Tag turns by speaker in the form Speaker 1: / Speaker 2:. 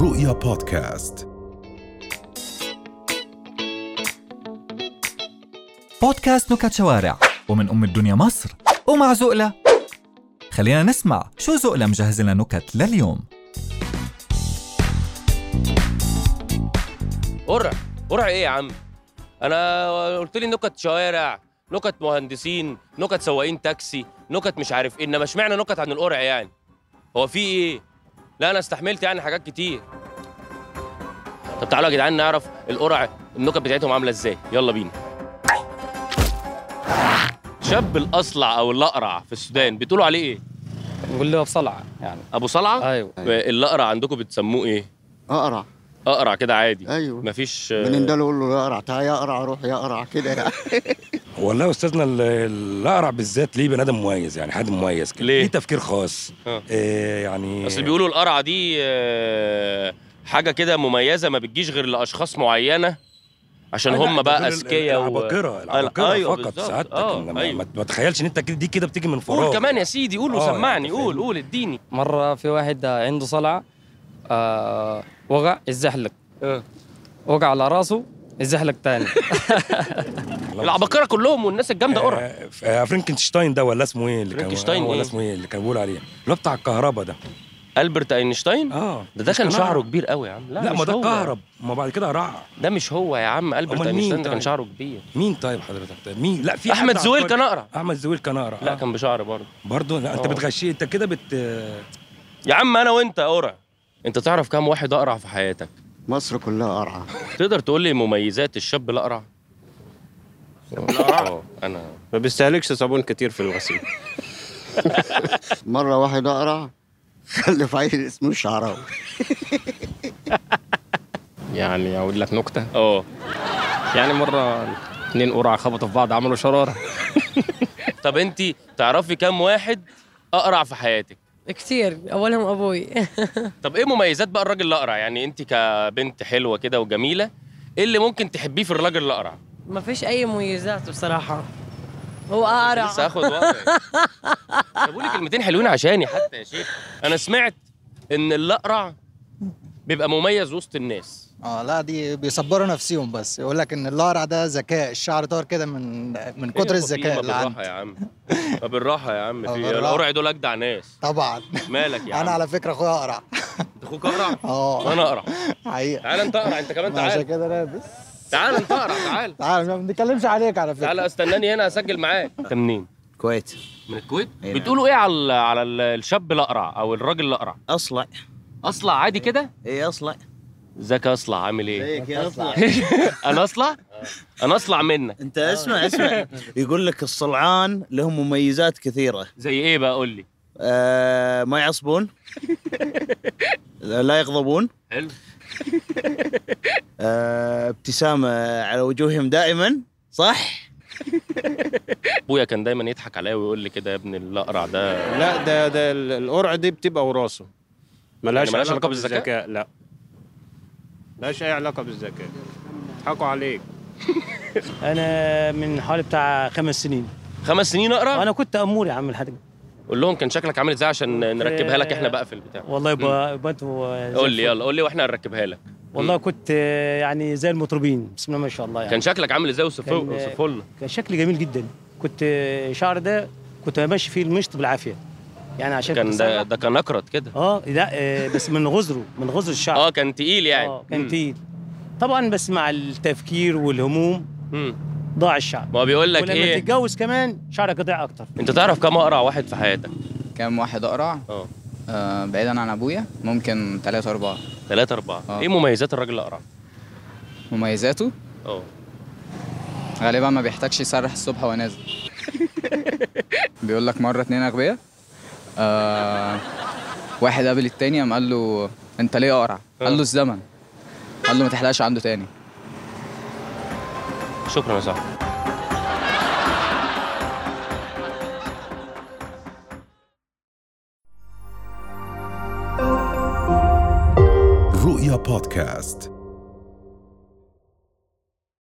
Speaker 1: رؤيا بودكاست
Speaker 2: بودكاست نكت شوارع ومن أم الدنيا مصر ومع زقلة خلينا نسمع شو زقلة مجهز لنا نكت لليوم
Speaker 3: قرع قرع ايه يا عم انا قلت لي نكت شوارع نكت مهندسين نكت سواقين تاكسي نكت مش عارف ايه انما اشمعنى نكت عن القرع يعني هو في ايه لا انا استحملت يعني حاجات كتير طب تعالوا يا جدعان نعرف القرع النكت بتاعتهم عامله ازاي يلا بينا شاب الاصلع او الاقرع في السودان بتقولوا عليه ايه
Speaker 4: نقول له بصلعه يعني
Speaker 3: ابو صلعه
Speaker 4: ايوه
Speaker 3: الاقرع عندكم بتسموه ايه
Speaker 5: اقرع
Speaker 3: اقرع كده عادي
Speaker 5: ايوه
Speaker 3: مفيش
Speaker 5: من ده اقول له اقرع تعالى يا اقرع روح يا اقرع كده يعني
Speaker 6: والله يا استاذنا ال- الاقرع بالذات ليه بني ادم مميز يعني حد مميز كده
Speaker 3: ليه؟
Speaker 6: ليه تفكير خاص
Speaker 3: آه.
Speaker 6: إيه يعني
Speaker 3: اصل بيقولوا القرعه دي آه، حاجه كده مميزه ما بتجيش غير لاشخاص معينه عشان
Speaker 6: لا،
Speaker 3: هم
Speaker 6: أنت
Speaker 3: بقى
Speaker 6: بتقول
Speaker 3: اذكياء
Speaker 6: العباقره العباقره
Speaker 3: أيوة
Speaker 6: فقط
Speaker 3: بالظبط.
Speaker 6: سعادتك
Speaker 3: آه،
Speaker 6: إنما
Speaker 3: أيوة.
Speaker 6: ما ما تتخيلش ان انت كده- دي كده بتيجي من فراغ
Speaker 3: قول كمان يا سيدي قول
Speaker 6: آه،
Speaker 3: وسمعني
Speaker 6: يعني
Speaker 3: قول
Speaker 6: فاهم.
Speaker 3: قول اديني
Speaker 4: مره في واحد عنده صلعه آه وقع الزحلق وقع على راسه الزحلق تاني
Speaker 6: الله
Speaker 3: العباقره كلهم والناس الجامده قرع
Speaker 6: آه، ف- آه، فرانكنشتاين ده ولا اسمه ايه اللي كان
Speaker 3: فرانكنشتاين
Speaker 6: آه،
Speaker 3: إيه؟
Speaker 6: ولا اسمه ايه اللي كان بيقول عليه اللي هو بتاع الكهرباء ده
Speaker 3: البرت اينشتاين
Speaker 6: اه
Speaker 3: ده ده
Speaker 6: مش
Speaker 3: كان شعره
Speaker 6: أقرع.
Speaker 3: كبير قوي يا عم لا,
Speaker 6: لا
Speaker 3: مش
Speaker 6: ما ده
Speaker 3: هو.
Speaker 6: كهرب ما بعد كده رع
Speaker 3: ده مش هو يا عم البرت
Speaker 6: أمال
Speaker 3: اينشتاين
Speaker 6: مين
Speaker 3: ده كان
Speaker 6: طيب؟
Speaker 3: شعره كبير
Speaker 6: مين طيب حضرتك طيب مين لا في
Speaker 3: احمد
Speaker 6: حد
Speaker 3: زويل
Speaker 6: عبقري.
Speaker 3: كان اقرع
Speaker 6: احمد زويل كان اقرع
Speaker 3: لا كان بشعر برضه
Speaker 6: برضه لا انت
Speaker 3: آه.
Speaker 6: بتغشي انت كده بت
Speaker 3: يا عم انا وانت قرع انت تعرف كام واحد اقرع في حياتك
Speaker 5: مصر كلها قرعه
Speaker 3: تقدر تقول لي مميزات الشاب آه، الاقرع الاقرع انا
Speaker 7: ما بيستهلكش صابون كتير في الغسيل
Speaker 5: مره واحد اقرع خلف عيل اسمه الشعراوي
Speaker 7: يعني اقول لك نكته
Speaker 3: اه
Speaker 7: يعني مره اتنين قرعه خبطوا في بعض عملوا شراره
Speaker 3: طب انت تعرفي كام واحد اقرع في حياتك
Speaker 8: كتير اولهم ابوي
Speaker 3: طب ايه مميزات بقى الراجل الاقرع يعني انت كبنت حلوه كده وجميله ايه اللي ممكن تحبيه في الراجل الاقرع
Speaker 8: ما فيش اي مميزات بصراحه هو
Speaker 3: لسه
Speaker 8: اقرع
Speaker 3: هاخد وضعي طب لي كلمتين حلوين عشاني حتى يا شيخ انا سمعت ان الاقرع بيبقى مميز وسط الناس
Speaker 9: اه لا دي بيصبروا نفسيهم بس يقول لك ان القرع ده ذكاء الشعر طار كده من من
Speaker 3: إيه
Speaker 9: كتر
Speaker 3: يا فاطمة،
Speaker 9: الذكاء اللي
Speaker 3: بالراحه
Speaker 9: عنده
Speaker 3: يا عم طب بالراحه يا عم
Speaker 9: آه،
Speaker 3: في
Speaker 9: بالراحة.
Speaker 3: القرع دول اجدع ناس
Speaker 9: طبعا
Speaker 3: مالك يا عم
Speaker 9: انا على فكره اخويا اقرع
Speaker 3: أنت اخوك اقرع
Speaker 9: اه
Speaker 3: وانا اقرع
Speaker 9: حقيقه
Speaker 3: تعال انت اقرع انت كمان
Speaker 9: ما عشان
Speaker 3: تعال
Speaker 9: كده انا بس
Speaker 3: تعال انت اقرع تعال
Speaker 9: تعال ما بنتكلمش عليك على
Speaker 3: تعال
Speaker 9: فكره
Speaker 3: استناني هنا اسجل معاك انت منين
Speaker 10: كويت
Speaker 3: من الكويت بتقولوا ايه على ال- على ال- الشاب الاقرع او الراجل الاقرع
Speaker 10: اصلع
Speaker 3: اصلع عادي كده
Speaker 10: ايه اصلع
Speaker 3: ازيك يا اصلع عامل ايه
Speaker 10: هيك يا اصلع
Speaker 3: انا اصلع انا اصلع منك
Speaker 10: انت اسمع اسمع يقول لك الصلعان لهم مميزات كثيره
Speaker 3: زي ايه بقى قول لي
Speaker 10: آه ما يعصبون لا يغضبون
Speaker 3: حلو
Speaker 10: آه ابتسامه على وجوههم دائما صح
Speaker 3: ابويا كان دايما يضحك عليا ويقول لي كده يا ابن الاقرع ده
Speaker 7: لا ده ده ال- القرعه دي بتبقى وراثه ملهاش
Speaker 3: يعني ملهاش علاقة بالذكاء؟
Speaker 7: لا ملهاش اي علاقه بالذكاء يضحكوا عليك
Speaker 4: انا من حوالي بتاع خمس سنين
Speaker 3: خمس سنين اقرع
Speaker 4: انا كنت يعني. امور يا عم الحاج
Speaker 3: قول لهم كان شكلك عامل ازاي عشان نركبها لك احنا بقى في البتاع
Speaker 4: والله يبقى يبقى انتوا زي
Speaker 3: قول لي
Speaker 4: الفل.
Speaker 3: يلا قول لي واحنا هنركبها لك
Speaker 4: والله كنت يعني زي المطربين بسم الله ما شاء الله يعني
Speaker 3: كان شكلك عامل ازاي وصفه
Speaker 4: كان-
Speaker 3: وصفه لنا
Speaker 4: كان شكلي جميل جدا كنت
Speaker 9: Ee,
Speaker 4: شعر ده كنت ماشي فيه المشط بالعافيه يعني عشان
Speaker 3: كان
Speaker 4: كنت
Speaker 3: ده
Speaker 4: صغير.
Speaker 3: ده كان اكرت كده
Speaker 4: اه لا
Speaker 9: ee,
Speaker 4: آه، بس من غزره من غزر الشعر
Speaker 3: اه كان تقيل يعني
Speaker 4: آه،
Speaker 3: مم.
Speaker 4: كان تقيل طبعا بس مع التفكير والهموم
Speaker 3: مم.
Speaker 4: ضاع الشعر
Speaker 3: ما هو بيقول لك
Speaker 4: ولما
Speaker 3: ايه
Speaker 4: تتجوز كمان شعرك ضاع اكتر
Speaker 3: انت تعرف كم اقرع واحد في حياتك
Speaker 9: كام واحد اقرع
Speaker 3: اه
Speaker 9: آه بعيدا عن ابويا ممكن ثلاثة أربعة
Speaker 3: ثلاثة أربعة
Speaker 9: آه.
Speaker 3: إيه مميزات الراجل الأقرع؟
Speaker 9: مميزاته
Speaker 3: أه
Speaker 9: غالبا ما بيحتاجش يسرح الصبح وهو نازل بيقول لك مره اتنين اغبياء آه واحد قابل التاني قام قال له انت ليه قرع؟
Speaker 3: اه.
Speaker 9: قال له الزمن قال له ما تحلقش عنده تاني
Speaker 3: شكرا يا صاحبي
Speaker 1: رؤيا بودكاست